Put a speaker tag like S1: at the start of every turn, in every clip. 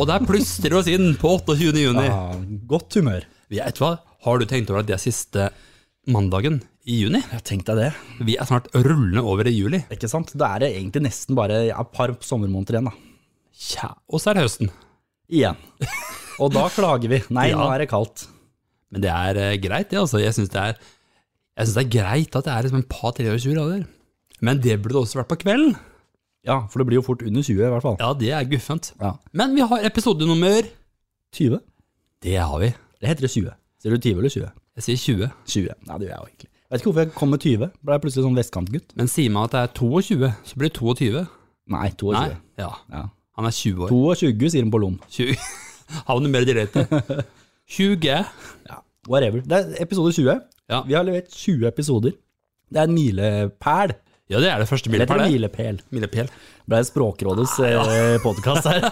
S1: Og der plystrer oss inn på 28. juni.
S2: Ja, godt humør.
S1: Vet du hva? Har du tenkt over at det er siste mandagen i juni?
S2: Ja, Tenk deg det.
S1: Vi er snart rullende over i juli.
S2: Ikke sant? Da er det egentlig nesten bare ja, et par sommermåneder igjen, da.
S1: Tja, og så er det høsten.
S2: Igjen. Og da klager vi. Nei, nå
S1: Ja.
S2: er det kaldt.
S1: Men det er eh, greit, det. altså. Jeg syns det, er- jeg synes det er greit at det er liksom en par-tre og 20 grader. Men det burde det også vært på kvelden.
S2: Ja, for det blir jo fort under 20 i hvert fall.
S1: Ja, det er guffent.
S2: Ja.
S1: Men vi har episodenummer
S2: 20?
S1: Det har vi.
S2: Det heter det 20. Sier du 20 eller 20?
S1: Jeg sier 20.
S2: 20. Nei, det gjør jeg jo egentlig. Vet ikke hvorfor jeg kom med 20. Ble jeg plutselig sånn vestkantgutt?
S1: Men sier man at det er 22, så blir det 22.
S2: Nei, 22.
S1: Nei, ja.
S2: Ja.
S1: Han er 20 år.
S2: 22 sier de på Lom.
S1: 20. Havner mer direkte. 20.
S2: Ja, whatever. Det er episode 20.
S1: Ja.
S2: Vi har levert 20 episoder. Det er en milepæl.
S1: Ja, det er det første
S2: Eller heter
S1: milepæl.
S2: det
S1: det.
S2: milepæl?
S1: Milepæl.
S2: Det er Språkrådets podkast her.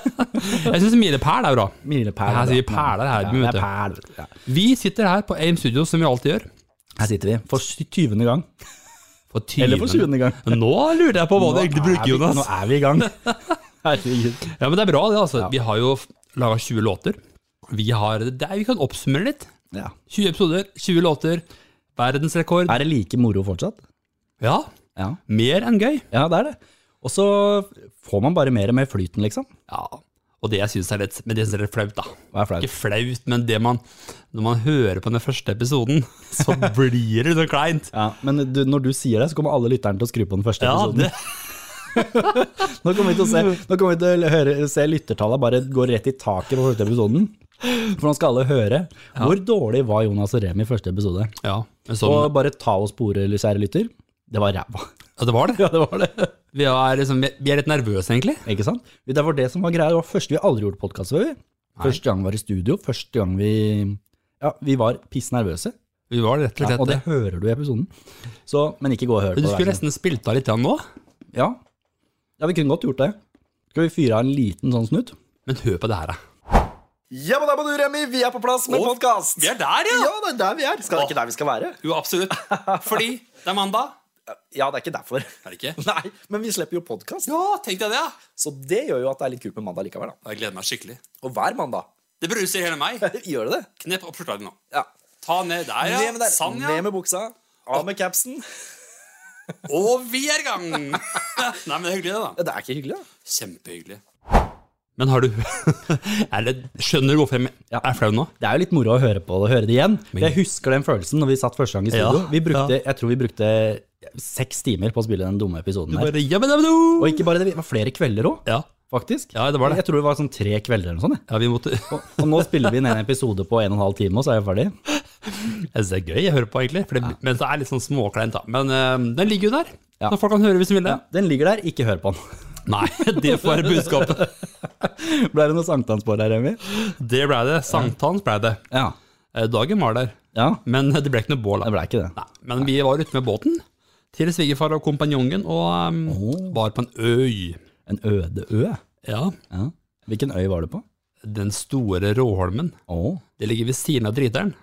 S1: Jeg syns milepæl er bra.
S2: Milepæl.
S1: Her sier vi
S2: ja.
S1: perler her,
S2: Ja,
S1: men
S2: det
S1: vet
S2: er
S1: du.
S2: perl, vet du. Ja.
S1: Vi sitter her på AIM Studio, som vi alltid gjør.
S2: Her sitter vi for 20. gang.
S1: For
S2: Eller for 20. gang.
S1: Nå lurer jeg på hva du egentlig
S2: er
S1: bruker,
S2: vi, nå
S1: Jonas.
S2: er vi i gang. Herregud.
S1: Ja, men det er bra, det. altså. Vi har jo laga 20 låter. Vi har det er, Vi kan oppsummere litt.
S2: Ja.
S1: 20 episoder, 20 låter. Verdensrekord.
S2: Er det like moro fortsatt?
S1: Ja,
S2: Ja,
S1: mer enn gøy.
S2: ja det er det. Og så får man bare mer og mer flyten, liksom.
S1: Ja, og det jeg syns er litt Men det synes jeg er litt flaut, da.
S2: Hva er flaut?
S1: Ikke flaut, men det man Når man hører på den første episoden, så blir det så kleint.
S2: Ja, men du, når du sier det, så kommer alle lytterne til å skru på den første
S1: Ja,
S2: episoden.
S1: det,
S2: Nå kommer vi til å se, nå kommer vi til å høre, se lyttertallet bare gå rett i taket på første episoden. For nå skal alle høre hvor dårlig var Jonas og Remi i første episode.
S1: ja. Men
S2: Og
S1: sånn,
S2: bare ta oss på ordet, kjære lytter. Det var ræva.
S1: ja, det var det.
S2: Ja, det var det.
S1: Vi er, liksom, vi er litt nervøse, egentlig.
S2: Ikke sant? Det var det som var greia. Det var første vi aldri gjorde podkast før. vi. Første gang vi var i studio. Første gang vi Ja, vi var pissnervøse.
S1: Vi var rett og
S2: Ja,
S1: slett
S2: og det
S1: det.
S2: hører du i episoden. Så, men ikke gå og hør på
S1: Men du
S2: det.
S1: skulle
S2: vær så snill.
S1: nesten spilt av litt av nå.
S2: Ja. ja, vi kunne godt gjort det. Skal vi fyre av en liten sånn snutt?
S1: Men hør på det her, da.
S3: Ja, men da må du, Remi, vi er på plass med podkast.
S1: er der,
S3: Ja, det er der vi er. Skal det ikke der vi skal være?
S1: Jo, absolutt. Fordi det er mandag.
S3: Ja, det er ikke derfor.
S1: Er det ikke?
S3: Nei, men vi slipper jo podkast,
S1: Ja, tenk deg det, ja.
S3: så det gjør jo at det er litt kult med mandag likevel. da.
S1: Jeg gleder meg skikkelig.
S3: Og hver mandag.
S1: Det bruser i hele meg.
S3: Gjør det det?
S1: Knepp opp forslaget nå.
S3: Ja.
S1: Ta ned der, Sånn,
S3: Ned med, der. Ned med buksa, av med capsen.
S1: Og vi er i gang! Nei, men det er hyggelig, det, da.
S3: Ja, Det er ikke hyggelig, da.
S1: Kjempehyggelig. Men har du er det, Skjønner du hvorfor jeg
S2: Ja.
S1: er flau nå?
S2: Det er jo litt moro å høre på det og høre det igjen. For jeg husker den følelsen når vi satt første gang i studio.
S1: Ja,
S2: Vi brukte, Jeg tror vi brukte seks timer på å spille den dumme episoden her.
S1: Bare, ja, men, ja, men,
S2: Og ikke bare det, det var flere kvelder òg,
S1: ja.
S2: faktisk.
S1: ja, det var det.
S2: Jeg tror det var sånn tre kvelder eller noe sånt. jeg.
S1: Ja, vi måtte, jeg
S2: Og, og nå spiller vi inn en episode på en og en halv time, og så er jeg ferdig.
S1: synes Altså, det er gøy å høre på, egentlig. For det, Men det er litt sånn småkleint, da. Men eh, den ligger jo der.
S2: Ja.
S1: Så folk kan høre hvis de vil det.
S2: Den ligger der, ikke hør på den.
S1: Nei, det får være budskapet.
S2: Ble det noe sankthansbord her, Emil?
S1: Det blei det. Sankthans blei det.
S2: Ja.
S1: Eh, Dagen var der,
S2: ja.
S1: men eh, det ble ikke noe bål.
S2: Det
S1: da.
S2: ble ikke det.
S1: Nei, Men vi var ute med båten til svigerfar og kompanjongen og eh, var på en øy.
S2: En øde ø.
S1: Ja,
S2: Ja. Hvilken øy var du på?
S1: Den store Råholmen.
S2: Å,
S1: Det ligger ved siden av Driteren.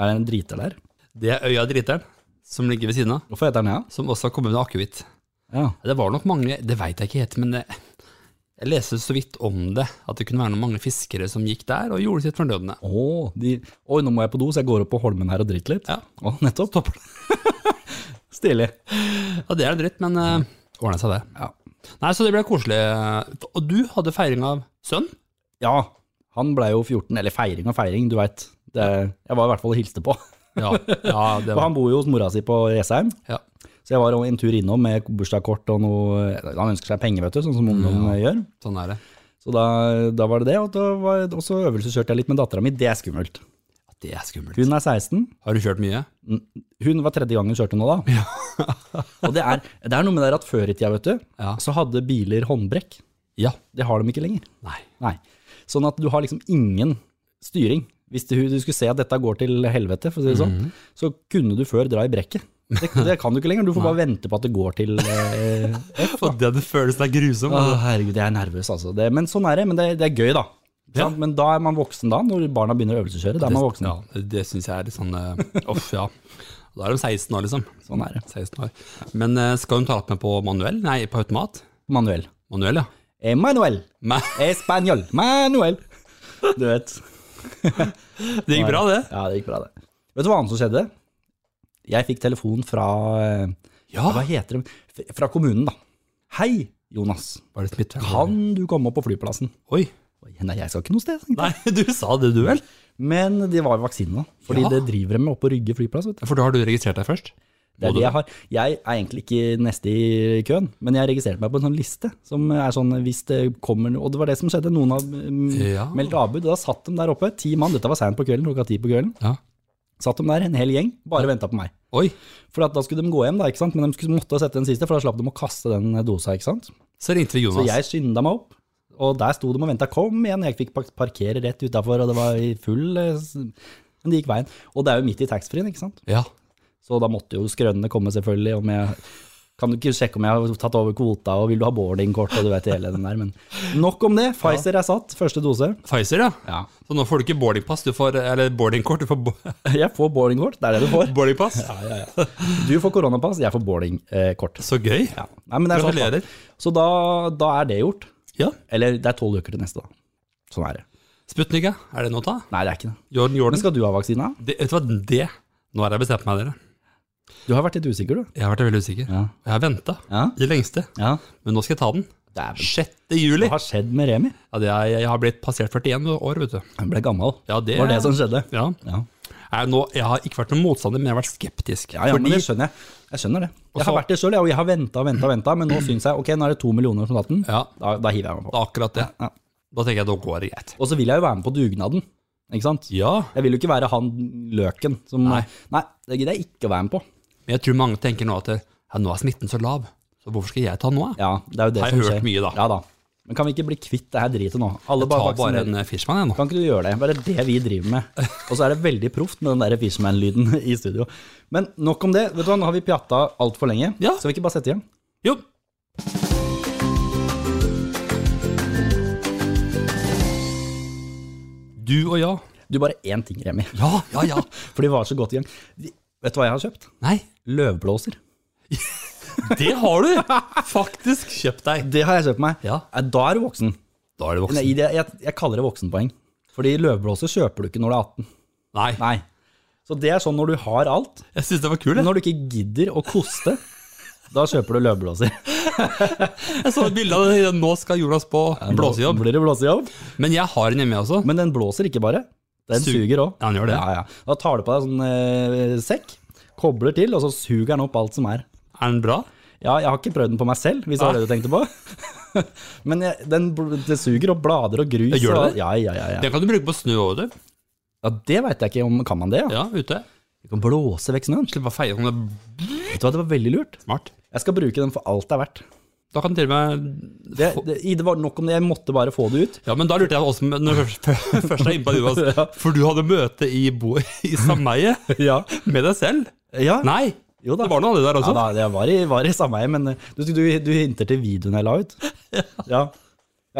S2: er det en driter der?
S1: Det er øya Driteren, som ligger ved siden av,
S2: Hvorfor heter den det?
S1: som også har kommet med akevitt.
S2: Ja.
S1: Det var nok mange, det veit jeg ikke helt, men eh, jeg leste så vidt om det, at det kunne være noen mange fiskere som gikk der og gjorde sitt fornødne.
S2: Å, de, oi, nå må jeg på do, så jeg går opp på holmen her og driter litt.
S1: Ja.
S2: Å, nettopp. Stilig.
S1: Ja, det er en dritt, men uh, ordna seg det.
S2: Ja.
S1: Nei, så det ble koselig. Og du hadde feiring av sønn?
S2: ja, han ble jo 14, eller feiring og feiring, du veit. Jeg var i hvert fall og hilste på.
S1: Ja, ja det
S2: For
S1: var
S2: han bor jo hos mora si på Jessheim,
S1: ja.
S2: så jeg var en tur innom med bursdagskort og noe Han ønsker seg penger, vet du, sånn som ungdom eh, gjør.
S1: Sånn er det.
S2: Så da, da var det det. Og da var, også øvelseskjørte jeg litt med dattera mi. Det er skummelt.
S1: Ja, Det er skummelt.
S2: Hun er 16.
S1: Har du kjørt mye?
S2: Hun var tredje gang hun kjørte nå, da. og det er, det er noe med det der at før i tida, vet du,
S1: Ja.
S2: så hadde biler håndbrekk.
S1: Ja.
S2: Det har de ikke lenger.
S1: Nei.
S2: Nei. Sånn at du har liksom ingen styring. Hvis du, du skulle se at dette går til helvete, for å si det sånn, så kunne du før dra i brekket. Det, det kan du ikke lenger. Du får bare vente på at det går til eh,
S1: For den følelsen er grusom.
S2: Å, herregud, jeg er nervøs, altså. Det, men sånn er det. Men det, det er gøy, da.
S1: Ja.
S2: Sant? Men da er man voksen, da. Når barna begynner å øvelseskjøre, da er man voksen.
S1: Ja, det- det syns jeg er litt sånn eh, Uff, ja. Da er de 16 år, liksom.
S2: Sånn er det.
S1: 16 år. Men eh, skal hun ta opp med på manuell? Nei, på automat?
S2: Manuel.
S1: Manuell, ja.
S2: Emanuel.
S1: Men,
S2: Español. Manuel. Du vet.
S1: Det gikk bra, det.
S2: Ja, det gikk bra, det. Vet du hva annet som skjedde? Jeg fikk telefon fra eh,
S1: Ja.
S2: Hva heter det? F- Fra kommunen, da. Hei, Jonas.
S1: Var det smitte?
S2: Kan du komme opp på flyplassen?
S1: Oi.
S2: Oi, Nei, jeg skal ikke noe sted. tenkte jeg.
S1: Nei, du sa det, du vel?
S2: Men de var jo vaksinen, da. Fordi
S1: Ja.
S2: det driver de med oppe på Rygge flyplass. vet du.
S1: For da har du registrert deg først?
S2: Det er det jeg har. Jeg er egentlig ikke neste i køen, men jeg registrerte meg på en sånn liste. Som er sånn hvis det kommer noe Og det var det som skjedde. Noen har mm,
S1: Ja.
S2: meldt avbud. og Da satt de der oppe, ti mann. Dette var seint på kvelden, klokka ti på kvelden.
S1: Ja.
S2: Satt de der, en hel gjeng, bare ventet venta på meg.
S1: Oi,
S2: For at da skulle de gå hjem, da, ikke sant? men de skulle, måtte sette den siste, for da slapp de å kaste den dosa. ikke sant?
S1: så ringte vi Jonas.
S2: Så jeg skynda meg opp, og der sto de og venta. Kom igjen, jeg fikk pak- parkere rett utafor, og det var i full eh, s- Men det gikk veien. Og det er jo midt i taxfree-en, ikke sant.
S1: Ja.
S2: Så da måtte jo skrønene komme, selvfølgelig. Om jeg, kan du ikke sjekke om jeg har tatt over kvota, og vil du ha boardingkort, og du vet hele den der. Men nok om det. Pfizer er satt, første dose.
S1: Pfizer, ja.
S2: Ja.
S1: Så nå får du ikke boardingpass, du får, eller boardingkort, du får bo
S2: Jeg får boardingkort, det er det du får.
S1: boardingpass.
S2: Du får koronapass, jeg får boardingkort.
S1: Så gøy.
S2: Ja. Nei, men det er sant, da.
S1: Gratulerer.
S2: Så da, da er det gjort.
S1: Ja.
S2: Eller det er tolv uker til neste, da. Sånn er det.
S1: Sputnik, ja. Er det noe å ta?
S2: Nei, det er ikke det.
S1: Jordan Jordan.
S2: Men skal du ha vaksina?
S1: Det, vet du hva, det Nå har jeg bestemt meg, dere.
S2: Du har vært litt usikker, du.
S1: Jeg har vært veldig usikker.
S2: Ja.
S1: Jeg har venta
S2: Ja.
S1: i det lengste,
S2: ja.
S1: men nå skal jeg ta den.
S2: Dæven.
S1: 6. juli.
S2: Hva har skjedd med Remi?
S1: Ja, det er, jeg har blitt passert 41 år, vet du.
S2: Han ble gammel.
S1: Ja, det
S2: Det var det som skjedde.
S1: Ja.
S2: Ja,
S1: Jeg, er nå, jeg har ikke vært noen motstander, men jeg har vært skeptisk.
S2: ja, ja men
S1: Fordi-
S2: det skjønner jeg. Jeg skjønner det. Jeg
S1: så-
S2: har vært det sjøl, og jeg har venta og venta, venta, men nå syns jeg ok, nå er det to millioner på natten.
S1: ja,
S2: Da, da hiver jeg meg
S1: det
S2: på.
S1: er akkurat det.
S2: Ja.
S1: Da tenker jeg da går det greit.
S2: Og så vil jeg jo være med på dugnaden, ikke sant.
S1: Ja,
S2: Jeg vil jo ikke være han løken som Nei,
S1: Nei.
S2: det gidder jeg ikke å være med på.
S1: men jeg tror mange tenker nå at ja, nå er smitten så lav, så hvorfor skal jeg ta den nå? Ja?
S2: Ja, det er jo det
S1: Har jeg
S2: som skjer.
S1: hørt mye, da.
S2: Ja da. Men kan vi ikke bli kvitt det her dritet nå? Alle
S1: Jeg tar
S2: bare
S1: bare
S2: vaksinerer.
S1: en eh, Fishman, jeg nå.
S2: Kan ikke du gjøre det? Bare det vi driver med. Og så er det veldig proft med den der Fishman-lyden i studio. Men nok om det. Vet du hva, Nå har vi pjatta altfor lenge.
S1: Ja.
S2: Skal vi ikke bare sette igjen?
S1: Jo, du og ja.
S2: Du, bare én ting, Remi.
S1: Ja, ja, ja.
S2: For de var så godt i gang. Vi- Vet du hva jeg har kjøpt?
S1: Nei,
S2: Løvblåser.
S1: det har du faktisk kjøpt deg.
S2: Det har jeg kjøpt meg.
S1: Ja.
S2: Eh, Da er du voksen.
S1: Da er du
S2: Nei,
S1: voksen.
S2: det, jeg, jeg kaller det voksenpoeng. Fordi løvblåser kjøper du ikke når du er 18.
S1: Nei,
S2: Nei. Så det er sånn når du har alt.
S1: jeg synes det var kul.
S2: Men
S1: jeg.
S2: når du ikke gidder å koste, da kjøper du løvblåser.
S1: Jeg så et bilde av det. Nå skal Jonas på blåsejobb.
S2: Blir det blåsejobb?
S1: Men jeg har en hjemme også.
S2: Men den blåser ikke bare. Den
S1: Sug-
S2: suger òg.
S1: Ja, den gjør det.
S2: Ja, ja. Da tar du på deg sånn eh, sekk, kobler til, og så suger den opp alt som er.
S1: Er den bra?
S2: Ja, jeg har ikke prøvd den på meg selv, hvis det var det du tenkte på. Men jeg, den, bl- det suger opp blader og grus.
S1: Ja, gjør det
S2: og-
S1: det?
S2: Ja, ja, ja. ja.
S1: Den kan du bruke på snø òg, du.
S2: ja det veit jeg ikke om kan man det. Ja.
S1: Ja, ute.
S2: Du kan blåse vekk snøen.
S1: Slippe å feie sånn. det er
S2: Vet du hva, det var veldig lurt.
S1: Smart.
S2: Jeg skal bruke den for alt det er verdt.
S1: Da kan du til og med
S2: Det, det, i- det var nok om det, jeg måtte bare få det ut.
S1: Ja, men da lurte jeg også når jeg først- først er inne på det, Jonas. For du hadde møte i, bo, i sameiet
S2: Ja.
S1: med deg selv.
S2: ja.
S1: Nei,
S2: Jo da.
S1: det var noe annet der
S2: Ja,
S1: også.
S2: da, det var i, var i sameie, men eh, du, du, du hinter til videoen jeg la ut. Ja. ja.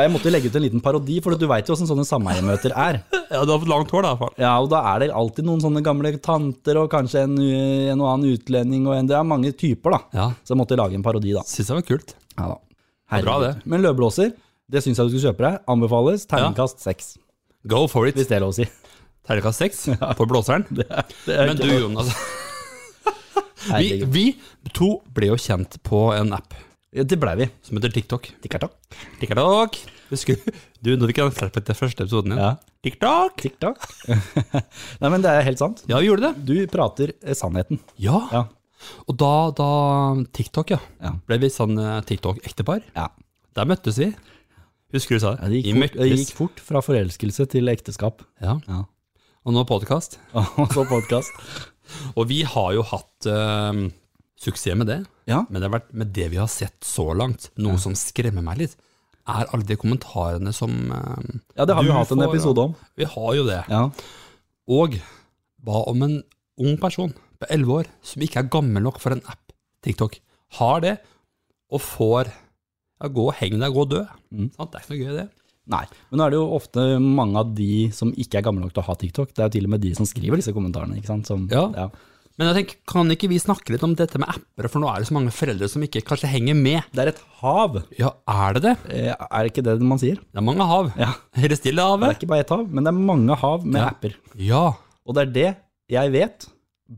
S2: Jeg måtte legge ut en liten parodi, for du veit jo åssen sånne sameiemøter er.
S1: Ja, du har fått langt hår, da. Far.
S2: Ja, og Da er det alltid noen sånne gamle tanter og kanskje en, eh, en og annen utlending. og en, Det er mange typer, da.
S1: Ja,
S2: Så jeg måtte lage en parodi, da.
S1: syns jeg var kult.
S2: Ja,
S1: er
S2: da.
S1: bra,
S2: Herregud. Men løvblåser, det syns jeg du skal kjøpe deg. Anbefales. Terningkast seks,
S1: Go for it.
S2: hvis det er lov å si.
S1: Terningkast seks på blåseren. Men du, Jonas. Vi,
S2: Herregud.
S1: vi to ble jo kjent på en app
S2: Ja, Det blei vi.
S1: som heter TikTok.
S2: Tikkertak.
S1: TikTok. Husker du, du når vi kan fleppe til første episoden din?
S2: Ja.
S1: TikTok.
S2: Tiktak. Nei, men det er helt sant.
S1: Ja, vi gjorde det.
S2: Du prater eh, sannheten.
S1: Ja.
S2: Ja.
S1: Og da, da TikTok, ja.
S2: Ja.
S1: Ble vi sånn eh, TikTok-ektepar.
S2: ja.
S1: Der møttes vi. Husker du sa det?
S2: Ja,
S1: Vi
S2: det, gikk fort, det
S1: møttes.
S2: gikk fort fra forelskelse til ekteskap. Altså
S1: Ja.
S2: Ja.
S1: Og nå podkast.
S2: Og så podkast.
S1: Og vi har jo hatt eh, suksess med det.
S2: Ja.
S1: Men det har vært med det vi har sett så langt, noe som skremmer meg litt, er alle de kommentarene som eh,
S2: ja, det har
S1: du
S2: vi hatt en
S1: får,
S2: episode om.
S1: Vi har jo det.
S2: Ja.
S1: Og ba om en ung person på 11 år som ikke er gammel nok for en app, TikTok, har det, og får ja, gå og heng deg, gå og dø. Sant? Det er ikke noe gøy, det.
S2: Nei. Men nå er det jo ofte mange av de som ikke er gamle nok til å ha TikTok. Det er jo til og med de som skriver disse kommentarene. ikke sant? Som,
S1: Ja. Men jeg tenker, kan ikke vi snakke litt om dette med apper, for nå er det så mange foreldre som ikke kanskje henger med.
S2: Det er et hav.
S1: Ja, er det det?
S2: Eh, Er det ikke det man sier?
S1: Det er mange hav.
S2: Ja.
S1: Er det stille
S2: Det er
S1: havet?
S2: ikke bare ett hav, men det er mange hav med
S1: Ja.
S2: apper.
S1: Ja.
S2: Og det er det jeg vet,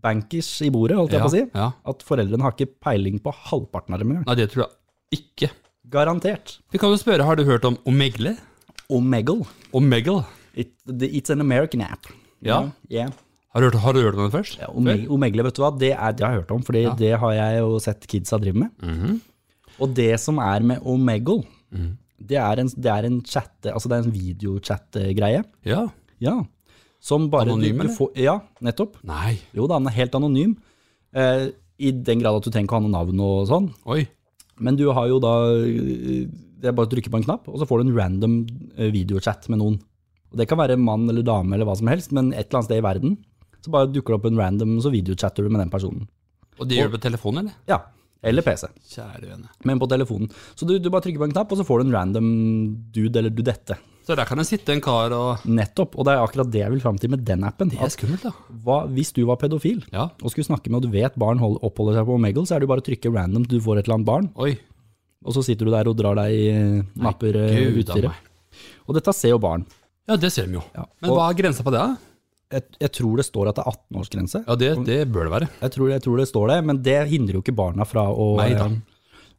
S2: bankers i bordet, holdt jeg
S1: ja,
S2: på å si,
S1: ja.
S2: at foreldrene har ikke peiling på halvparten av dem engang.
S1: Nei, det tror jeg ikke.
S2: Garantert.
S1: Vi kan jo spørre, har du hørt om Omegle?
S2: Omegle.
S1: Omegle?
S2: It, the, it's an American app.
S1: Ja.
S2: Yeah.
S1: Har du hørt, har du hørt om den først?
S2: Ja, Omeg- Omegle, vet du hva, det, er, det har jeg hørt om, fordi det har jeg jo sett kidsa drive med.
S1: Mhm.
S2: Og det som er med Omegle, det er en, det er en chatte, altså det er en videochat-greie.
S1: Ja.
S2: Ja. Som bare du-
S1: Anonym,
S2: du
S1: eller?
S2: får- Ja, nettopp.
S1: Nei.
S2: Jo da, den er helt anonym. Eh, I den grad at du trenger ikke å ha noe navn og sånn.
S1: Oi.
S2: Men du har jo da eh, Det er bare å trykke på en knapp, og så får du en random eh, videochat med noen. Og Det kan være mann eller dame eller hva som helst, men et eller annet sted i verden. Så bare dukker det opp en random, så videochatter du med den personen.
S1: Og det gjør du på telefonen, eller?
S2: Ja, eller PC,
S1: Kjære vene.
S2: men på telefonen. Så du, du bare trykker på en knapp, og så får du en random dude eller dudette.
S1: Så der kan det sitte en kar og
S2: Nettopp, og det er akkurat det jeg vil fram til med den appen.
S1: Det er skummelt, da.
S2: Hva, hvis du var pedofil
S1: Ja.
S2: og skulle snakke med, og du vet barn hold, oppholder seg på Omegle, så er det jo bare å trykke random til du får et eller annet barn,
S1: Oi.
S2: og så sitter du der og drar deg i napper eh,
S1: Gud a
S2: utstyret.
S1: meg.
S2: Og dette ser jo barn.
S1: Ja, det ser de jo.
S2: Ja.
S1: Men
S2: Og-
S1: hva er grensa på det? da?
S2: Jeg, jeg tror det står at det er 18-årsgrense.
S1: Ja, det, det bør det være.
S2: Jeg, tror- jeg tror det står det, men det hindrer jo ikke barna fra å, eh,
S1: Nei da.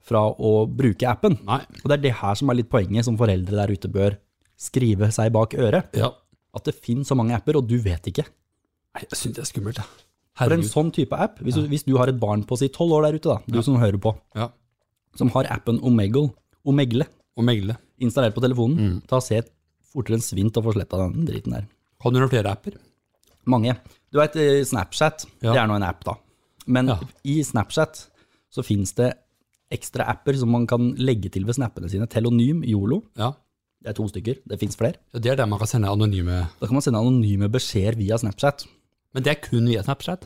S2: fra å bruke appen.
S1: Nei.
S2: Og det er det her som er litt poenget som foreldre der ute bør skrive seg bak øret.
S1: Ja.
S2: At det finnes så mange apper, og du vet ikke.
S1: Nei, jeg syns det er skummelt, da.
S2: For en
S1: Herregud.
S2: sånn type app, hvis du, hvis du har et barn på si tolv år der ute, da, du som hører på,
S1: Ja.
S2: som har appen Omegle, Omegle
S1: Omegle.
S2: installert på telefonen,
S1: Mm.
S2: ta og se fortere enn svint og få sletta den driten der.
S1: Kan du gjøre flere apper?
S2: Mange. Du veit Snapchat,
S1: Ja.
S2: det er nå en app, da. Men
S1: Ja.
S2: i Snapchat så fins det ekstra apper som man kan legge til ved snappene sine. Telonym, Yolo,
S1: Ja.
S2: det er to stykker, det fins flere.
S1: Ja, Det er der man kan sende anonyme
S2: Da kan man sende anonyme beskjeder via Snapchat.
S1: Men det er kun via Snapchat?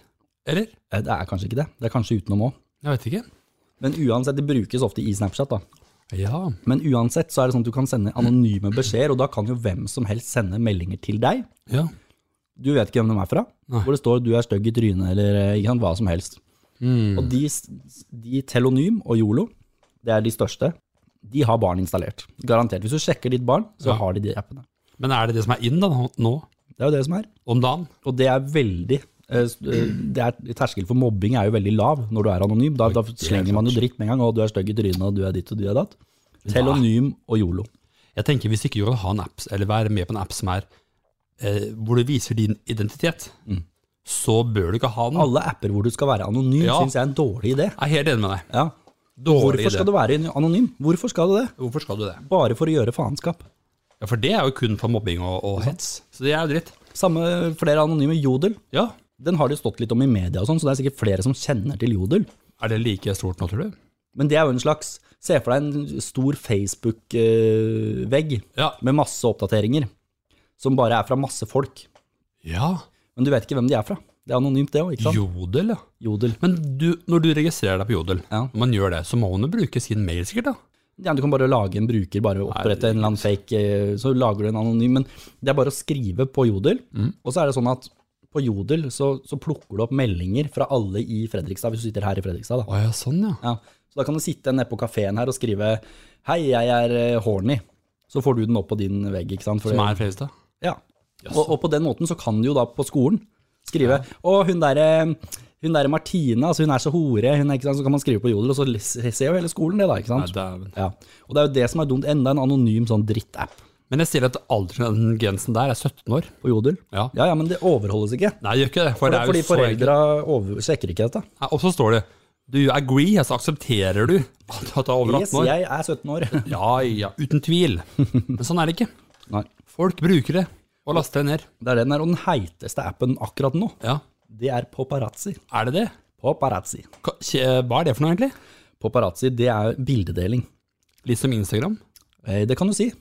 S1: Eller?
S2: Eh, Det er kanskje ikke det, det er kanskje utenom òg.
S1: Jeg vet ikke.
S2: Men uansett, det brukes ofte i Snapchat, da.
S1: Ja.
S2: Men uansett så er det sånn at du kan sende anonyme beskjeder, og da kan jo hvem som helst sende meldinger til deg.
S1: ja.
S2: Du vet ikke hvem de er fra,
S1: Nei.
S2: hvor det står 'du er stygg i trynet' eller eh, ikke sant, hva som helst.
S1: Mm.
S2: Og de, s- de telonym og Yolo, det er de største, de har barn installert. Garantert. Hvis du sjekker ditt barn, så
S1: Ja.
S2: har de de appene.
S1: Men er det det som er in da nå?
S2: Det er jo det som er.
S1: Om dagen?
S2: Og det er veldig eh, s- eh, det er, Terskelen for mobbing er jo veldig lav når du er anonym. Da, da slenger man jo dritt med en gang. Og du er stygg i trynet, og du er ditt og du er datt. Telonym og Yolo.
S1: Jeg tenker hvis ikke du kan ha en app, eller være med på en app som er eh, hvor du viser din identitet,
S2: Mm.
S1: så bør du ikke ha den.
S2: Alle apper hvor du skal være anonym,
S1: Ja.
S2: syns jeg er en dårlig idé.
S1: Jeg er helt enig med deg.
S2: Ja.
S1: Dårlig
S2: Hvorfor skal du være anonym? Hvorfor skal du det?
S1: Hvorfor skal du det?
S2: Bare for å gjøre faenskap.
S1: Ja, For det er jo kun for mobbing og, og hets. Så det er jo dritt.
S2: Samme flere anonyme Jodel.
S1: Ja.
S2: Den har det jo stått litt om i media, og sånn, så det er sikkert flere som kjenner til Jodel.
S1: Er det like stort nå, tror du?
S2: Men det er jo en slags Se for deg en stor Facebook-vegg
S1: Ja.
S2: med masse oppdateringer, som bare er fra masse folk.
S1: ja.
S2: Men du vet ikke hvem de er fra. Det er anonymt, det òg, ikke sant?
S1: Jodel, ja.
S2: Jodel.
S1: Sånn. Men du, når du registrerer deg på Jodel,
S2: Ja.
S1: når man gjør det, så må man jo bruke sin mail sikkert, da.
S2: Ja, du kan bare lage en bruker, bare opprette en eller annen fake, eh, så lager du en anonym. Men det er bare å skrive på Jodel. Og så er det sånn at på Jodel så, så plukker du opp meldinger fra alle i Fredrikstad, hvis du sitter her i Fredrikstad. da.
S1: Å ja, sånn, ja.
S2: Ja, så da kan du sitte nede på kafeen her og skrive Hei, jeg er eh, horny. Så får du den opp på din vegg, ikke sant? For
S1: Som
S2: det-
S1: er Fredrikstad.
S2: Ja. Og, og på den måten så kan du jo da på skolen skrive Å, hun derre hun der Martine, altså hun er så hore, hun er, ikke sant? så kan man skrive på jodel, og så les- ser jo hele skolen det, da. ikke
S1: Nei,
S2: sant?
S1: dæven.
S2: Ja. Og det er jo det som er dumt. Enda en anonym sånn drittapp
S1: Men jeg sier at alderen den grensen der er 17 år.
S2: på jodel.
S1: Ja.
S2: ja, men det overholdes ikke.
S1: Nei, det gjør ikke det. For, det er jo
S2: Fordi
S1: så enkelt.
S2: foreldra over- sjekker ikke dette.
S1: Nei, Og så står det Do you agree? Altså aksepterer du at du er over 18
S2: Yes,
S1: år?
S2: jeg er 17 år.
S1: Ja, ja, uten tvil. Men sånn er det ikke.
S2: Nei.
S1: Folk bruker det og laster det ned.
S2: Det er den her, og den heiteste appen akkurat nå.
S1: Ja,
S2: Det er Paparazzi.
S1: er det det?
S2: Paparazzi.
S1: Ka- kje- Hva er det for noe, egentlig?
S2: Paparazzi, det er bildedeling.
S1: Litt som Instagram?
S2: Eh, Det kan du si.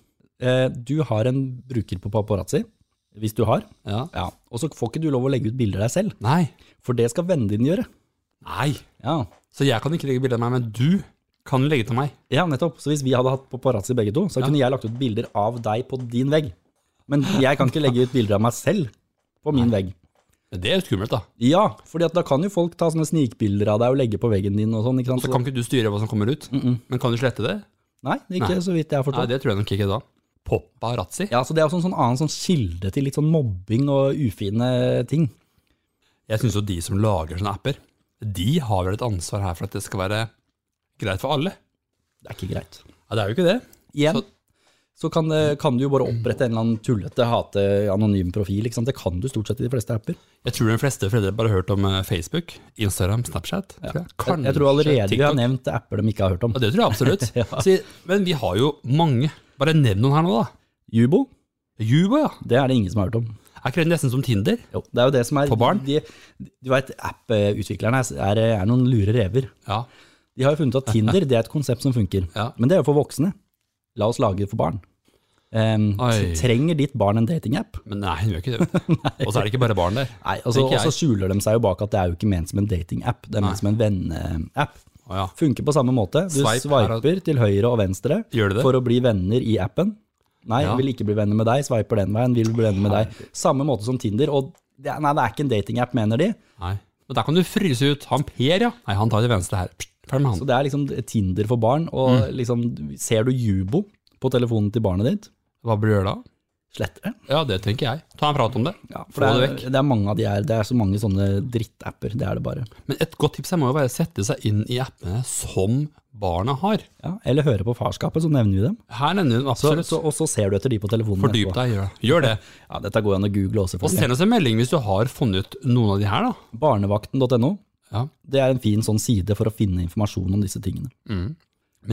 S2: Eh, Du har en bruker på paparazzi, hvis du har.
S1: Ja.
S2: Ja. Og så får ikke du lov å legge ut bilder deg selv,
S1: Nei.
S2: for det skal vennen din gjøre.
S1: Nei.
S2: Ja,
S1: Så jeg kan ikke legge bilde av meg, men du kan legge til meg.
S2: ja nettopp. Så hvis vi hadde hatt paparazzi begge to, så kunne jeg lagt ut bilder av deg på din vegg. Men jeg kan ikke legge ut bilder av meg selv på min vegg.
S1: Men Det er jo skummelt, da.
S2: Ja, fordi at da kan jo folk ta sånne snikbilder av deg og legge på veggen din og sånn. ikke sant?
S1: Så kan ikke du styre hva som kommer ut. Men kan du slette det?
S2: Nei, ikke
S1: Nei.
S2: så vidt jeg har
S1: Nei,
S2: forstått.
S1: det tror jeg nok ikke da. Paparazzi?
S2: Ja, så Det er også en sånn annen sånn kilde til litt sånn mobbing og ufine ting.
S1: Jeg syns jo de som lager sånne apper, de har vel et ansvar her for at det skal være greit for alle?
S2: Det er ikke greit.
S1: Ja, det er jo ikke det.
S2: Igjen,
S1: Så-
S2: så, kan, det, kan du jo bare opprette en eller annen tullete, hate, anonym profil. Ikke sant? Det kan du stort sett i de fleste apper.
S1: Jeg tror de fleste foreldre bare har hørt om eh, Facebook, Instagram, Snapchat. tror jeg.
S2: Jeg, jeg tror allerede vi har
S1: TikTok.
S2: nevnt apper de ikke har hørt om.
S1: Ja, det tror jeg absolutt. Så- men vi har jo mange. Bare nevn noen her nå, da.
S2: Jubo,
S1: Juba, ja.
S2: det er det ingen som har hørt om.
S1: Er ikke det nesten som Tinder?
S2: Jo, det er jo det som er
S1: For barn?
S2: De, du vet, app-utviklerne er, er noen lure rever.
S1: Ja.
S2: De har jo funnet at Tinder det er et konsept som funker.
S1: Ja.
S2: Men det er jo for voksne. La oss lage det for barn. Ehm,
S1: Oi.
S2: trenger ditt barn en datingapp?
S1: Men nei, hun gjør ikke det. vet du. Og så er det ikke bare barn der.
S2: Nei, altså,
S1: Ikke
S2: og
S1: jeg.
S2: så skjuler de seg jo bak at det er jo ikke ment som en datingapp, det er
S1: Nei.
S2: ment som en venneapp.
S1: Å, ja.
S2: Funker på samme måte. Du
S1: Swipe her og-
S2: sveiper til høyre og venstre
S1: Gjør du det?
S2: for å bli venner i appen. Nei,
S1: Ja.
S2: vil ikke bli venner med deg. Sveiper den veien, vil bli venner med deg. Samme måte som Tinder. Og det, er- nei, det er ikke en datingapp, mener de.
S1: Nei. Men der kan du fryse ut. Han Per, ja. Nei, han tar til venstre her. Pst, Ferdig med
S2: Så
S1: han.
S2: det er liksom Tinder for barn.
S1: Mm.
S2: Og liksom, ser du Jubo på telefonen til barnet ditt,
S1: Hva bør du gjøre da?
S2: slett det.
S1: Ja, det tenker jeg. Ta en prat om det.
S2: For det
S1: Få det
S2: er, det er mange av de her. Det er så mange sånne drittapper. Det er det bare.
S1: Men et godt tips her må jo være å sette seg inn i appene som barna har.
S2: Ja, eller høre på farskapet, så nevner vi dem.
S1: Her nevner hun
S2: Så,
S1: absolutt.
S2: så, og så ser du etter de på telefonen.
S1: Fordyp
S2: etterpå.
S1: deg, gjør det. Gjør det.
S2: Ja, dette går jo an å google også,
S1: Og
S2: selvfølgelig.
S1: send oss en melding hvis du har funnet ut noen av de her, da.
S2: Barnevakten.no.
S1: Ja.
S2: Det er en fin sånn side for å finne informasjon om disse tingene.
S1: Men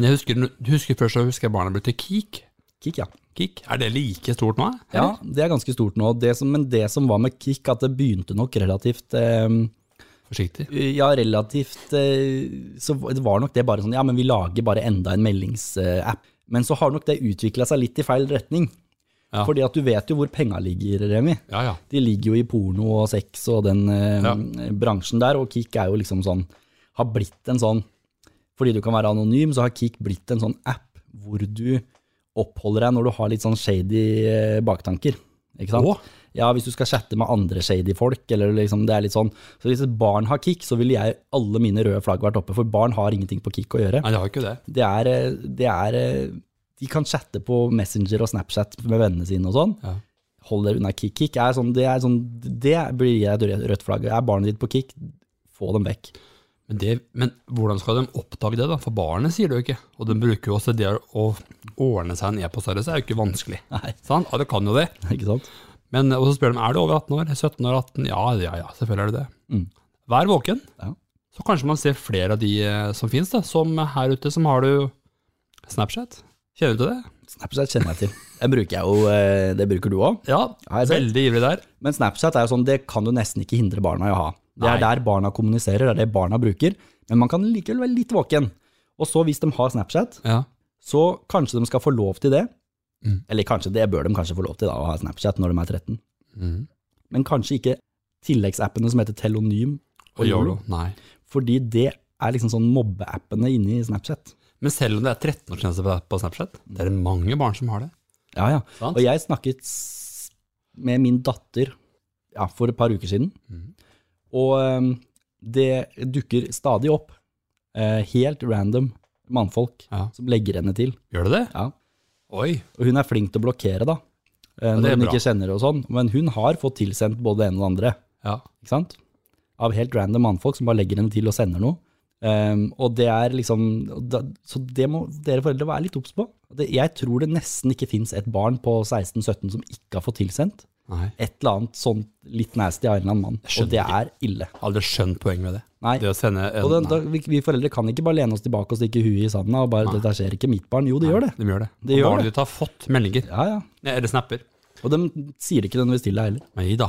S1: jeg husker, du husker først så husker jeg barna ble til Kik.
S2: Kikk, ja.
S1: Kik, Er det like stort nå?
S2: ja.
S1: eller?
S2: Det er ganske stort nå. Det som, men det som var med Kikk, at det begynte nok relativt eh,
S1: Forsiktig.
S2: Ja, relativt eh, Så det var nok det bare sånn Ja, men vi lager bare enda en meldingsapp. Men så har nok det utvikla seg litt i feil retning.
S1: Ja.
S2: Fordi at du vet jo hvor penga ligger, Remi.
S1: Ja, ja.
S2: De ligger jo i porno og sex og den eh,
S1: Ja.
S2: bransjen der, og Kik er jo liksom sånn Har blitt en sånn Fordi du kan være anonym, så har Kik blitt en sånn app hvor du oppholder deg når du har litt sånn shady eh, baktanker. Ikke sant?
S1: Å?
S2: Ja, hvis du skal chatte med andre shady folk, eller liksom det er litt sånn Så hvis et barn har Kik, så ville jeg alle mine røde flagg vært oppe, for barn har ingenting på Kik å gjøre.
S1: Nei, det har jo ikke det.
S2: Det er, eh, det er eh, De kan chatte på Messenger og Snapchat med vennene sine og sånn.
S1: Ja.
S2: Hold dere unna kick. Kick er sånn, det, er sånn, det blir jeg et rødt- rødt flagg. Er barnet ditt på kick, få dem vekk.
S1: Men, det, men hvordan skal de oppdage det, da? For barnet sier det jo ikke. Og de bruker jo også det å ordne seg en e-postadresse, er jo ikke vanskelig.
S2: Nei.
S1: Sant? Ja, det kan jo det.
S2: Ikke sant?
S1: Men, og så spør de er du over 18 år. 17 år, 18? Ja, ja, ja, selvfølgelig er du det.
S2: Mm.
S1: Vær våken.
S2: Ja.
S1: Så kanskje man ser flere av de eh, som finnes, da, som her ute, som har du Snapchat. Kjenner du til det?
S2: Snapchat kjenner jeg til. Det bruker jeg jo, eh, det bruker du òg.
S1: Ja,
S2: Ja, jeg ser.
S1: veldig ivrig der.
S2: Men Snapchat er jo sånn, det kan du nesten ikke hindre barna i å ha. Det
S1: Nei.
S2: er der barna kommuniserer, det er det barna bruker. Men man kan likevel være litt våken. Og så hvis de har Snapchat,
S1: Ja.
S2: så kanskje de skal få lov til det.
S1: Mm.
S2: Eller kanskje det bør de kanskje få lov til, da, å ha Snapchat når de er 13.
S1: Mm.
S2: Men kanskje ikke tilleggsappene som heter Telonym
S1: Og Yolo? Nei.
S2: Fordi det er liksom sånn mobbeappene inni Snapchat.
S1: Men selv om det er 13-årsgrense på- på Snapchat, det er mange barn som har det.
S2: Ja, ja.
S1: Sant?
S2: Og jeg snakket s- med min datter ja, for et par uker siden,
S1: Mhm.
S2: og eh, det dukker stadig opp eh, helt random mannfolk
S1: Ja.
S2: som legger henne til.
S1: Gjør det det?
S2: Ja.
S1: Oi.
S2: Og hun er flink til å blokkere, da. eh,
S1: det er
S2: Når hun
S1: bra.
S2: ikke kjenner det og sånn. Men hun har fått tilsendt både det ene og det andre.
S1: Ja.
S2: ikke sant? Av helt random mannfolk som bare legger henne til og sender noe. Um, og det er liksom og da, Så det må dere foreldre være litt obs på. Det, jeg tror det nesten ikke fins et barn på 16-17 som ikke har fått tilsendt
S1: Nei. Jeg
S2: et eller annet sånt litt nasty av en eller annen mann.
S1: skjønner
S2: Og det er ille.
S1: har aldri skjønt poenget med det.
S2: Nei.
S1: Det å sende en,
S2: Og det, da,
S1: nei.
S2: vi, vi foreldre kan ikke bare lene oss tilbake og stikke huet i sanda og bare 'Dette skjer ikke mitt barn'. Jo, det gjør det.
S1: De gjør det.
S2: Det gjør
S1: Barnet
S2: det.
S1: ditt har fått meldinger.
S2: Ja, ja.
S1: Nei, Eller snapper.
S2: Og de sier det ikke nødvendigvis til deg heller.
S1: Nei da.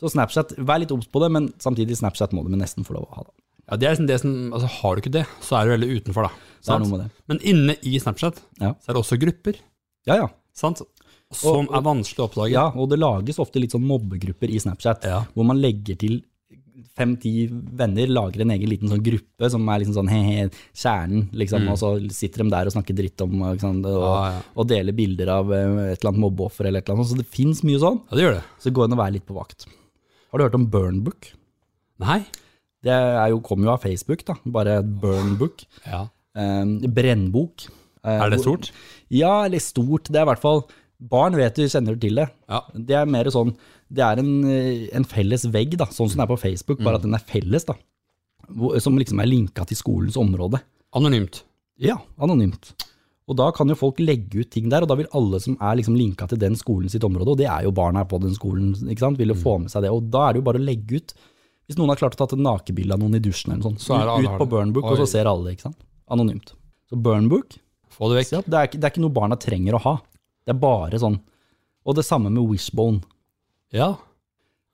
S2: Så Snapchat, vær litt obs på det, men samtidig Snapchat må du nesten få lov å ha. Da.
S1: Ja, det er liksom det som, altså Har du ikke det, så er du veldig utenfor, da.
S2: Det er
S1: Sant?
S2: noe med det.
S1: Men inne i Snapchat
S2: Ja.
S1: så er det også grupper
S2: Ja, ja.
S1: sant? som er vanskelig å oppdage.
S2: Ja, og det lages ofte litt sånn mobbegrupper i Snapchat,
S1: Ja.
S2: hvor man legger til fem-ti venner, lager en egen liten sånn gruppe som er liksom sånn he-he, kjernen, liksom, og så sitter de der og snakker dritt om, ikke sant, og,
S1: Mm. Ja, ja.
S2: og deler bilder av eh, et eller annet mobbeoffer eller et eller annet, så det finnes mye sånn,
S1: Ja, det gjør det.
S2: så gå inn og være litt på vakt. Har du hørt om Burnbook?
S1: Nei.
S2: Det er jo, kom jo av Facebook, da. Bare Burnbook.
S1: Ja.
S2: Eh, brennbok. Eh,
S1: Er det
S2: hvor-
S1: stort?
S2: Ja, eller stort. Det er i hvert fall Barn vet du kjenner til det.
S1: Ja.
S2: Det er mer sånn Det er en, eh, en felles vegg, da, sånn som det er på Facebook,
S1: Mm.
S2: bare at den er felles, da. Hvor- Som liksom er linka til skolens område.
S1: Anonymt.
S2: Ja, anonymt. Og da kan jo folk legge ut ting der, og da vil alle som er liksom linka til den skolen sitt område, og det er jo barna på den skolen, ikke sant,
S1: Mm.
S2: vil jo få med seg det. Og da er det jo bare å legge ut. Hvis noen har klart å tatt et nakenbilde av noen i dusjen eller noe sånt,
S1: Så er det alle
S2: ut,
S1: har
S2: ut på
S1: det.
S2: Burnbook,
S1: Oi.
S2: og så ser alle, ikke sant. Anonymt. Så Burnbook,
S1: Få det
S2: se
S1: vekk.
S2: at det er, ikke- det er ikke noe barna trenger å ha. Det er bare sånn. Og det samme med Wishbone,
S1: Ja.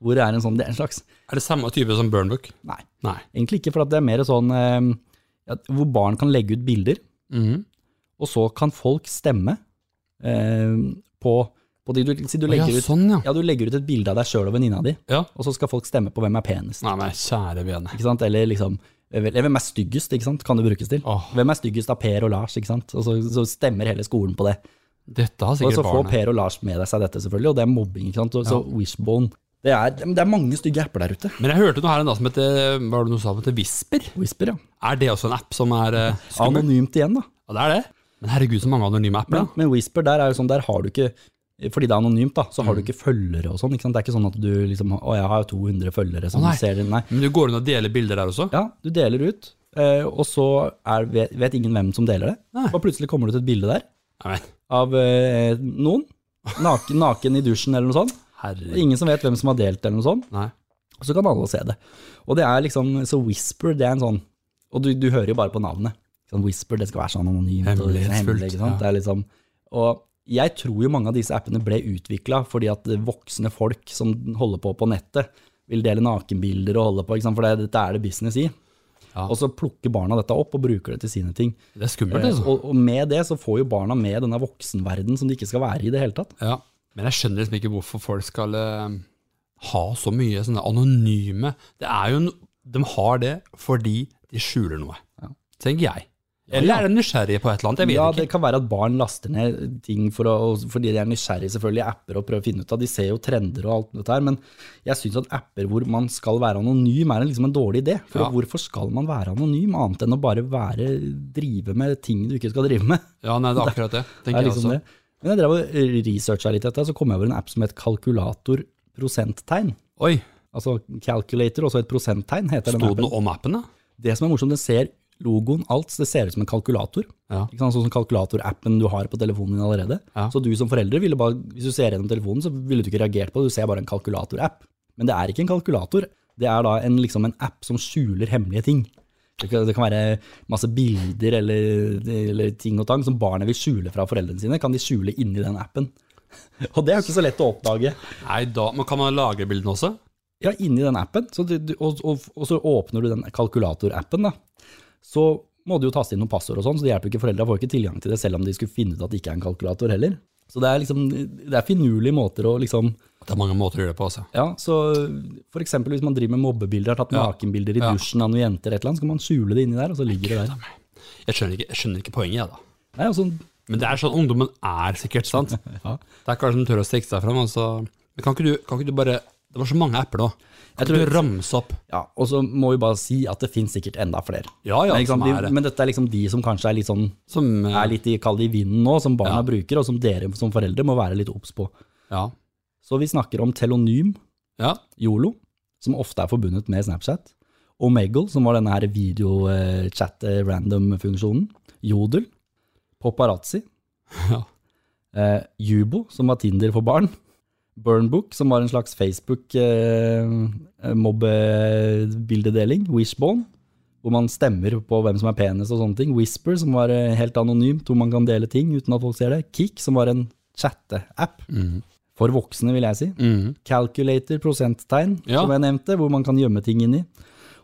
S2: hvor det er en sånn, det er en slags,
S1: Er det samme type som Burnbook?
S2: nei,
S1: Nei.
S2: egentlig ikke, for at det er mer sånn, eh, ja, hvor barn kan legge ut bilder,
S1: Mhm.
S2: og så kan folk stemme eh, på, på de du, si du
S1: Å, ja,
S2: legger ut.
S1: sånn, ja.
S2: Ja, du legger ut et bilde av deg sjøl og venninna di,
S1: Ja.
S2: og så skal folk stemme på hvem er penest.
S1: Nei, men kjære vene.
S2: Ikke sant? Eller liksom eller hvem er styggest, ikke sant? kan det brukes til.
S1: Åh.
S2: Hvem er styggest av Per og Lars, ikke sant? og så, så stemmer hele skolen på det.
S1: Dette har
S2: Og så
S1: sikkert
S2: får
S1: barnet.
S2: Per og Lars med seg dette, selvfølgelig, og det er mobbing. ikke sant? Og så Wishbone. Det er, det er mange stygge apper der ute.
S1: Men jeg hørte noe her en dag som heter Hva var det du sa? som heter Whisper?
S2: Whisper, ja.
S1: Er det også en app som er eh, skummel?
S2: Anonymt igjen, da.
S1: Ja, det er det. Men herregud, så mange anonyme apper.
S2: Men,
S1: da.
S2: men Whisper, der er jo sånn, der har du ikke fordi det er anonymt, da, så har du
S1: Mm.
S2: ikke følgere og sånn. ikke sant? Det er ikke sånn at du liksom Å, jeg har 200 følgere som
S1: Å, nei.
S2: ser det. Nei.
S1: Men du går inn og deler bilder der også?
S2: Ja, du deler ut, eh, og så er, vet, vet ingen hvem som deler det.
S1: Nei.
S2: Og plutselig kommer det ut et bilde der
S1: Nei, men
S2: av eh, noen. Naken, naken i dusjen eller noe sånt. Og
S1: herregud.
S2: ingen som vet hvem som har delt eller noe sånt.
S1: Nei.
S2: Og så kan alle se det. Og det er liksom Så Whisper, det er en sånn Og du, du hører jo bare på navnet. Sånn Whisper, det skal være sånn anonymt og liksom
S1: Hemmelighetsfullt,
S2: hemmelig. Ikke sant?
S1: ja.
S2: Det er liksom, og jeg tror jo mange av disse appene ble utvikla fordi at voksne folk som holder på på nettet, vil dele nakenbilder og holde på, ikke sant? for det, dette er det business i.
S1: Ja.
S2: Og så plukker barna dette opp og bruker det til sine ting.
S1: Det er skummelt,
S2: Eh,
S1: altså.
S2: Og, og med det så får jo barna med denne voksenverdenen som de ikke skal være i det hele tatt.
S1: Ja. Men jeg skjønner liksom ikke hvorfor folk skal eh, ha så mye sånne anonyme Det er jo en, De har det fordi de skjuler noe,
S2: Ja.
S1: tenker jeg. Eller er de nysgjerrige på et eller annet? Jeg vet
S2: ja,
S1: ikke.
S2: det kan være at barn laster ned ting for å, fordi de er nysgjerrige selvfølgelig i apper og prøver å finne ut av. De ser jo trender og alt dette her, men jeg syns at apper hvor man skal være anonym, er liksom en dårlig idé. For
S1: Ja.
S2: hvorfor skal man være anonym, annet enn å bare være, drive med ting du ikke skal drive med?
S1: Ja, nei, det er akkurat det.
S2: Det
S1: tenker
S2: er liksom
S1: jeg også.
S2: det. Men jeg drev og researcha litt dette, så kom jeg over en app som het kalkulator prosenttegn.
S1: Oi,
S2: Altså calculator, også et prosenttegn, heter den
S1: sto det
S2: appen.
S1: noe om appen, da?
S2: Det som er morsomt, den ser logoen, alt, det ser ut som en kalkulator.
S1: Ja.
S2: Ikke sant? Sånn som kalkulatorappen du har på telefonen din allerede.
S1: Ja.
S2: Så du som foreldre, ville bare, hvis du ser gjennom telefonen, så ville du ikke reagert på det, du ser bare en kalkulatorapp. Men det er ikke en kalkulator, det er da en, liksom en app som skjuler hemmelige ting. Det kan, det kan være masse bilder eller, eller ting og tang som barnet vil skjule fra foreldrene sine, kan de skjule inni den appen. Og det er jo ikke så lett å oppdage.
S1: Nei, da, men Kan man lagre bildene også?
S2: Ja, inni den appen, så du, du, og, og, og så åpner du den kalkulatorappen, da. Så må du jo taste inn noen passord og sånn, så det hjelper jo ikke foreldra, får jo ikke tilgang til det, selv om de skulle finne ut at det ikke er en kalkulator heller. Så det er liksom, det er finurlige måter å liksom
S1: Det er mange måter å gjøre det på. altså.
S2: Ja, så for eksempel hvis man driver med mobbebilder, har tatt
S1: Ja.
S2: nakenbilder i
S1: Ja.
S2: dusjen av noen jenter eller et eller annet, så kan man skjule det inni der, og så ligger det der.
S1: Jeg skjønner ikke, jeg skjønner ikke poenget, jeg, da.
S2: Nei, altså,
S1: Men det er sånn ungdommen er sikkert, sant?
S2: Ja.
S1: Det er kanskje de tør å stikke seg fram. Altså. Men kan ikke, du, kan ikke du bare Det var så mange apper nå. Kan ikke
S2: Jeg tror-
S1: du ramse opp?
S2: ja, og så må vi bare si at det finnes sikkert enda flere.
S1: Ja, ja,
S2: Men, ikke sant,
S1: som er
S2: de, men dette er liksom de som kanskje er litt sånn
S1: som, eh,
S2: er litt i, kall det i vinden nå, som barna
S1: Ja.
S2: bruker, og som dere som foreldre må være litt obs på.
S1: Ja.
S2: Så vi snakker om telonym,
S1: ja.
S2: Yolo, som ofte er forbundet med Snapchat. Omegle, som var denne her eh, video-chat-random-funksjonen. Jodel. Paparazzi.
S1: Ja.
S2: Eh, Jubo, som var Tinder for barn. Burnbook, som var en slags eh, Facebook-mobbebildedeling. eh, Wishbone, hvor man stemmer på hvem som er penest og sånne ting. Whisper, som var eh, helt anonymt, hvor man kan dele ting uten at folk ser det. Kik, som var en chatte-app. For voksne, vil jeg si
S1: Mhm.
S2: calculator, prosenttegn,
S1: Ja.
S2: som jeg nevnte, hvor man kan gjemme ting inni.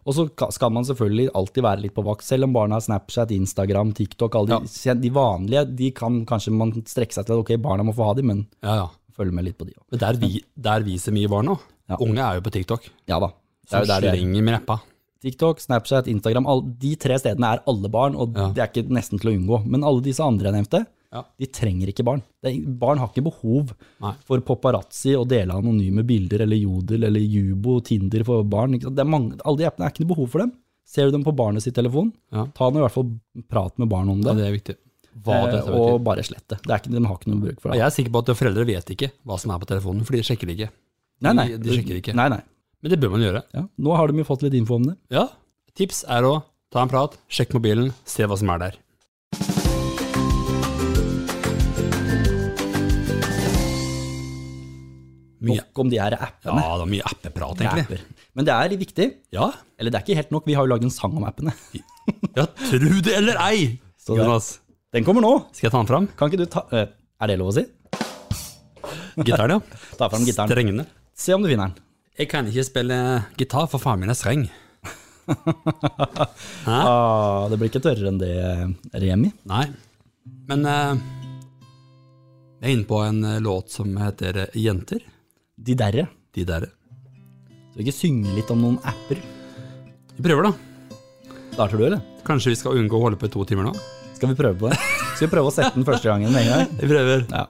S2: Og så ka- skal man selvfølgelig alltid være litt på vakt, selv om barna har Snapchat, Instagram, TikTok, alle de, de vanlige, de kan kanskje man strekke seg til at ok, barna må få ha de, men
S1: ja, ja.
S2: følg med litt på de også.
S1: Men der, vi, der viser mye barn nå.
S2: Ja.
S1: Unge er jo på TikTok.
S2: Ja da. Det
S1: Som
S2: er jo der det er.
S1: slenger med rappa.
S2: TikTok, Snapchat, Instagram, all, de tre stedene er alle barn, og
S1: Ja.
S2: det er ikke nesten til å unngå. Men alle disse andre jeg nevnte,
S1: Ja.
S2: De trenger ikke barn. Det er, barn har ikke behov
S1: Nei.
S2: for paparazzi å dele anonyme bilder eller Jodel eller Jubo Tinder for barn. Ikke sant? Det er mange, alle de appene er ikke noe behov for dem. Ser du dem på barnet sitt telefon,
S1: Ja.
S2: ta den og i hvert fall prat med barn om det.
S1: Ja, det er viktig. Hva
S2: eh,
S1: dette betyr.
S2: og bare slett det. det er ikke, de har ikke noe bruk for
S1: Ja,
S2: det.
S1: Jeg er sikker på at foreldre vet ikke hva som er på telefonen, for de sjekker det ikke.
S2: Nei, nei,
S1: de- de sjekker ikke.
S2: Nei, nei.
S1: Men det bør man gjøre.
S2: Ja. Nå har de jo fått litt info om det.
S1: Ja. Tips er å ta en prat, sjekk mobilen, se hva som er der. Mye.
S2: Nok om de her appene.
S1: Ja, det er mye appeprat,
S2: Det er
S1: egentlig.
S2: apper. Men det er litt viktig.
S1: Ja,
S2: Eller det er ikke helt nok, vi har jo lagd en sang om appene.
S1: ja tru det eller ei!
S2: Så det-
S1: Jonas,
S2: Den kommer nå.
S1: skal jeg ta den fram?
S2: Kan ikke du ta eh, Er det lov å si?
S1: Gitaren, ja.
S2: Ta fram gitaren.
S1: Strengene.
S2: Se om du finner den.
S1: Jeg kan ikke spille gitar, for faren min er streng.
S2: Ah, det blir ikke tørrere enn det, eh, Remi.
S1: Nei. Men eh, jeg er inne på en eh, låt som heter eh, Jenter.
S2: De derre.
S1: De der.
S2: Så ikke synge litt om noen apper.
S1: Vi prøver, da.
S2: Starter du, eller?
S1: Kanskje vi skal unngå å holde på i to timer nå?
S2: Skal vi prøve på det? Skal vi prøve å sette den første gangen med en gang?
S1: Vi prøver.
S2: Ja.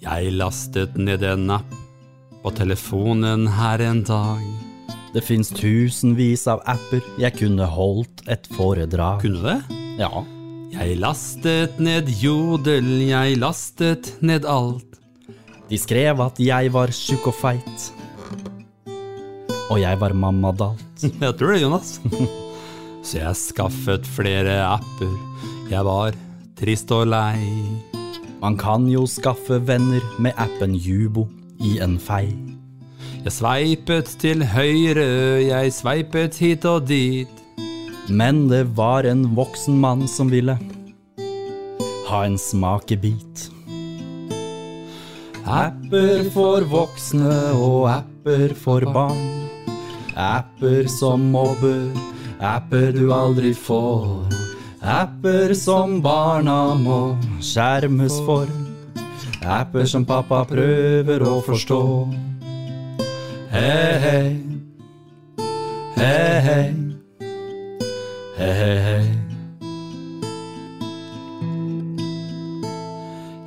S1: Jeg lastet ned en app på telefonen her en dag.
S2: Det fins tusenvis av apper, jeg kunne holdt et foredrag.
S1: Kunne det?
S2: Ja.
S1: Jeg lastet ned Jodel, jeg lastet ned alt.
S2: De skrev at jeg var tjukk og feit. Og jeg var mamma dalt.
S1: Jeg tror det, Jonas. Så jeg skaffet flere apper. Jeg var trist og lei.
S2: Man kan jo skaffe venner med appen Jubo i en fei.
S1: Jeg sveipet til høyre, jeg sveipet hit og dit.
S2: Men det var en voksen mann som ville ha en smakebit. Apper for voksne og apper for barn. Apper som mobber, apper du aldri får. Apper som barna må skjermes for. Apper som pappa prøver å forstå. Hei, hei. Hei, hei. Hei, hei, hei.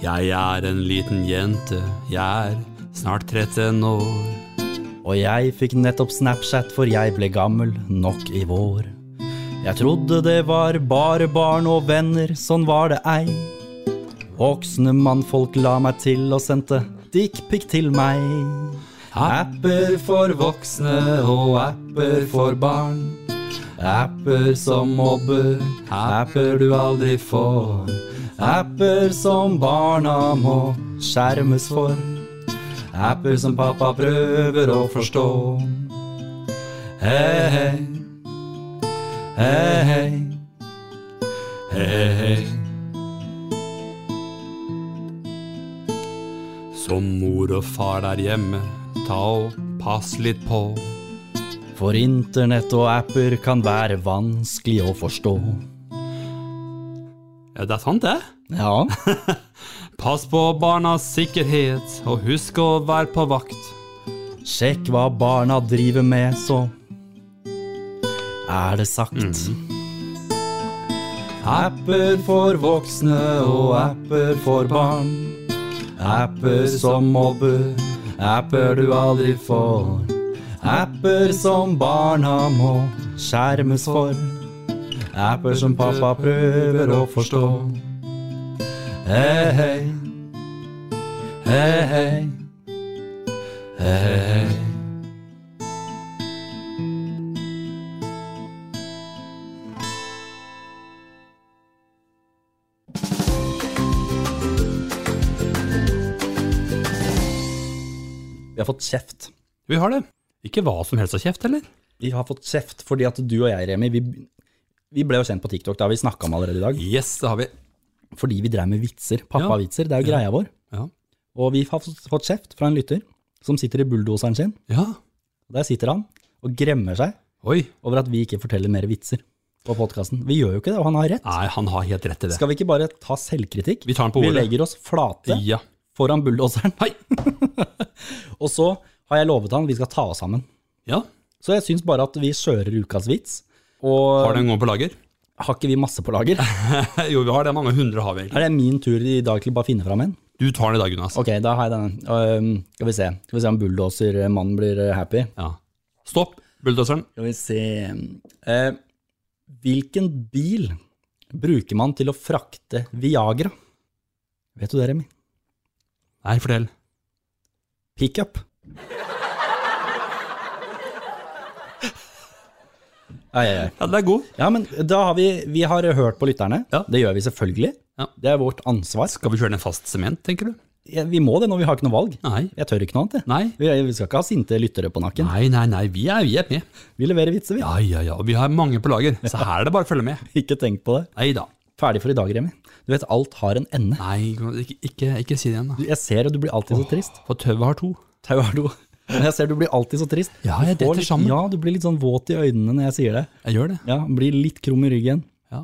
S1: Jeg er en liten jente, jeg er snart 13 år.
S2: Og jeg fikk nettopp Snapchat, for jeg ble gammel nok i vår. Jeg trodde det var bare barn og venner, sånn var det ei. Voksne mannfolk la meg til og sendte dickpic til meg. Apper for voksne og apper for barn. Apper som mobber, apper du aldri får. Apper som barna må skjermes for. Apper som pappa prøver å forstå. Hei, hei. Hei, hei. Hei, hei.
S1: Så mor og far der hjemme, ta og pass litt på.
S2: For internett og apper kan være vanskelig å forstå.
S1: Ja, det er sant, det.
S2: Ja.
S1: Pass på barnas sikkerhet, og husk å være på vakt.
S2: Sjekk hva barna driver med, så er det sagt. Apper for voksne og apper for barn. Apper som mobber, apper du aldri får. Apper som barna må skjermes for. Apper som pappa prøver å forstå. Hei, hei. Hei, hei. Eh, Vi har fått kjeft.
S1: Vi har det. Ikke hva som helst av kjeft, eller?
S2: Vi har fått kjeft fordi at du og jeg, Remi, vi, vi ble jo kjent på TikTok, det har vi snakka om allerede i dag,
S1: Yes, det har vi.
S2: fordi vi drev med vitser.
S1: Ja.
S2: Pappa-vitser, det er jo greia vår.
S1: Ja.
S2: Og vi har fått fått kjeft fra en lytter som sitter i bulldoseren sin.
S1: Ja.
S2: Og Der sitter han og gremmer seg
S1: Oi.
S2: over at vi ikke forteller mer vitser på podkasten. Vi gjør jo ikke det, og han har rett.
S1: Nei, han har helt rett i det.
S2: Skal vi ikke bare ta selvkritikk?
S1: Vi tar den på
S2: Vi
S1: ordet.
S2: legger oss flate
S1: Ja.
S2: foran bulldoseren,
S1: Hei.
S2: og så har jeg lovet han vi skal ta oss sammen.
S1: Ja.
S2: Så jeg syns bare at vi kjører ukas vits. Og
S1: Har du en gang på lager?
S2: har ikke vi masse på lager?
S1: jo, vi har det. Mange hundre har vi egentlig.
S2: Er det min tur i dag til å bare finne fram en?
S1: Du tar den i dag, Jonas.
S2: Ok, da har jeg denne. Øhm, skal vi se Skal vi se om bulldosermannen blir eh, happy.
S1: Ja. Stopp bulldoseren.
S2: Skal vi se Eh, Hvilken bil bruker man til å frakte Viagra? Vet du det, Remi?
S1: Nei, fortell.
S2: Pickup. Ja, ja, ja.
S1: Ja, den er god.
S2: ja, men da har vi, vi har hørt på lytterne.
S1: Ja.
S2: Det gjør vi selvfølgelig.
S1: Ja.
S2: Det er vårt ansvar.
S1: Skal vi kjøre den fast sement, tenker du?
S2: Ja, Vi må det når vi har ikke noe valg.
S1: Nei.
S2: Jeg tør ikke noe annet. jeg.
S1: Nei.
S2: Vi, vi skal ikke ha sinte lyttere på nakken.
S1: Nei, nei, nei. Vi er, vi er med.
S2: Vi leverer vitser, vi.
S1: Ja, ja, ja. Og vi har mange på lager, så her er det bare å følge med.
S2: Ikke tenk på det.
S1: Nei da.
S2: Ferdig for i dag, Remi. Du vet, alt har en ende.
S1: Nei, ikke, ikke, ikke si det igjen, da.
S2: Du- Jeg ser at du blir alltid så trist.
S1: For tauet har to.
S2: Tau er du. Men jeg ser du blir alltid så trist.
S1: Ja,
S2: Du
S1: jeg
S2: får
S1: detter
S2: litt-
S1: sammen.
S2: Ja, du blir litt sånn våt i øynene når jeg sier det.
S1: Jeg gjør det.
S2: Ja, Blir litt krum i ryggen.
S1: Ja.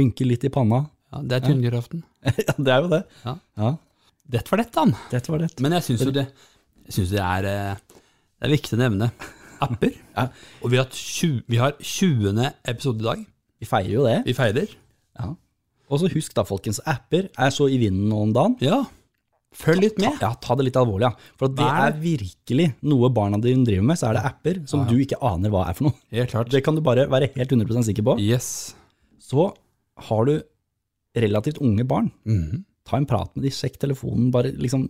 S2: Rynker litt i panna.
S1: ja det er tynngrøften.
S2: ja, det er jo det.
S1: Ja.
S2: Ja,
S1: Dette var dette, han.
S2: Dette var det.
S1: Men jeg syns jo det, jeg synes det, er, eh, det er viktig å nevne apper. Og vi har, 20, vi har 20. episode i dag.
S2: Vi feirer jo det.
S1: Vi feirer.
S2: Ja. Og så husk da, folkens, apper er så i vinden nå om dagen.
S1: Ja. Følg litt med.
S2: Ja, ta det litt alvorlig, ja. For at det
S1: Hva er
S2: er virkelig noe barna dine driver med, så er det apper som du ikke aner hva er for noe.
S1: Helt klart.
S2: Det kan du bare være helt 100 sikker på.
S1: Yes.
S2: Så har du relativt unge barn.
S1: Mhm.
S2: ta en prat med de, sjekk telefonen. Bare, liksom,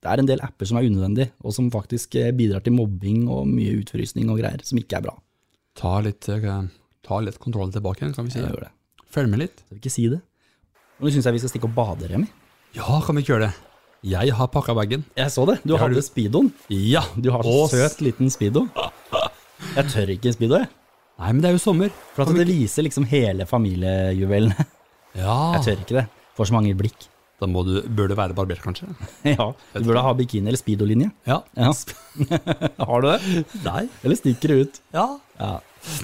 S2: det er en del apper som er unødvendig, og som faktisk eh, bidrar til mobbing og mye utfrysning og greier, som ikke er bra.
S1: Ta litt, eh, ta litt kontrollen tilbake igjen, kan vi si.
S2: Jeg
S1: det.
S2: gjør det.
S1: Følg med litt.
S2: Så ikke si det. Nå syns jeg vi skal stikke og bade, Remi.
S1: Ja, kan vi ikke gjøre det? Jeg har pakka bagen.
S2: Jeg så det. Du
S1: har
S2: hadde
S1: du.
S2: speedoen.
S1: Ja,
S2: Du har så
S1: og s-
S2: søt liten speedo. Jeg tør ikke speedo, jeg.
S1: Nei, men det er jo sommer.
S2: For at det viser liksom hele familiejuvelene.
S1: Ja,
S2: Jeg tør ikke det. Får så mange blikk.
S1: da må du, bør du være barbert, kanskje.
S2: Ja, Du burde ha bikini eller speedo-linje.
S1: Ja.
S2: Ja. Har du det?
S1: Nei.
S2: Eller stikker det ut?
S1: Ja.
S2: Ja,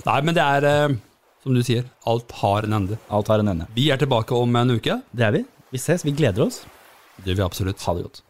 S1: Nei, men det er, eh, som du sier, alt har en ende.
S2: Alt har en ende.
S1: Vi er tilbake om en uke.
S2: Det er vi. Vi ses. Vi gleder oss.
S1: Det gjør vi absolutt.
S2: Ha det godt.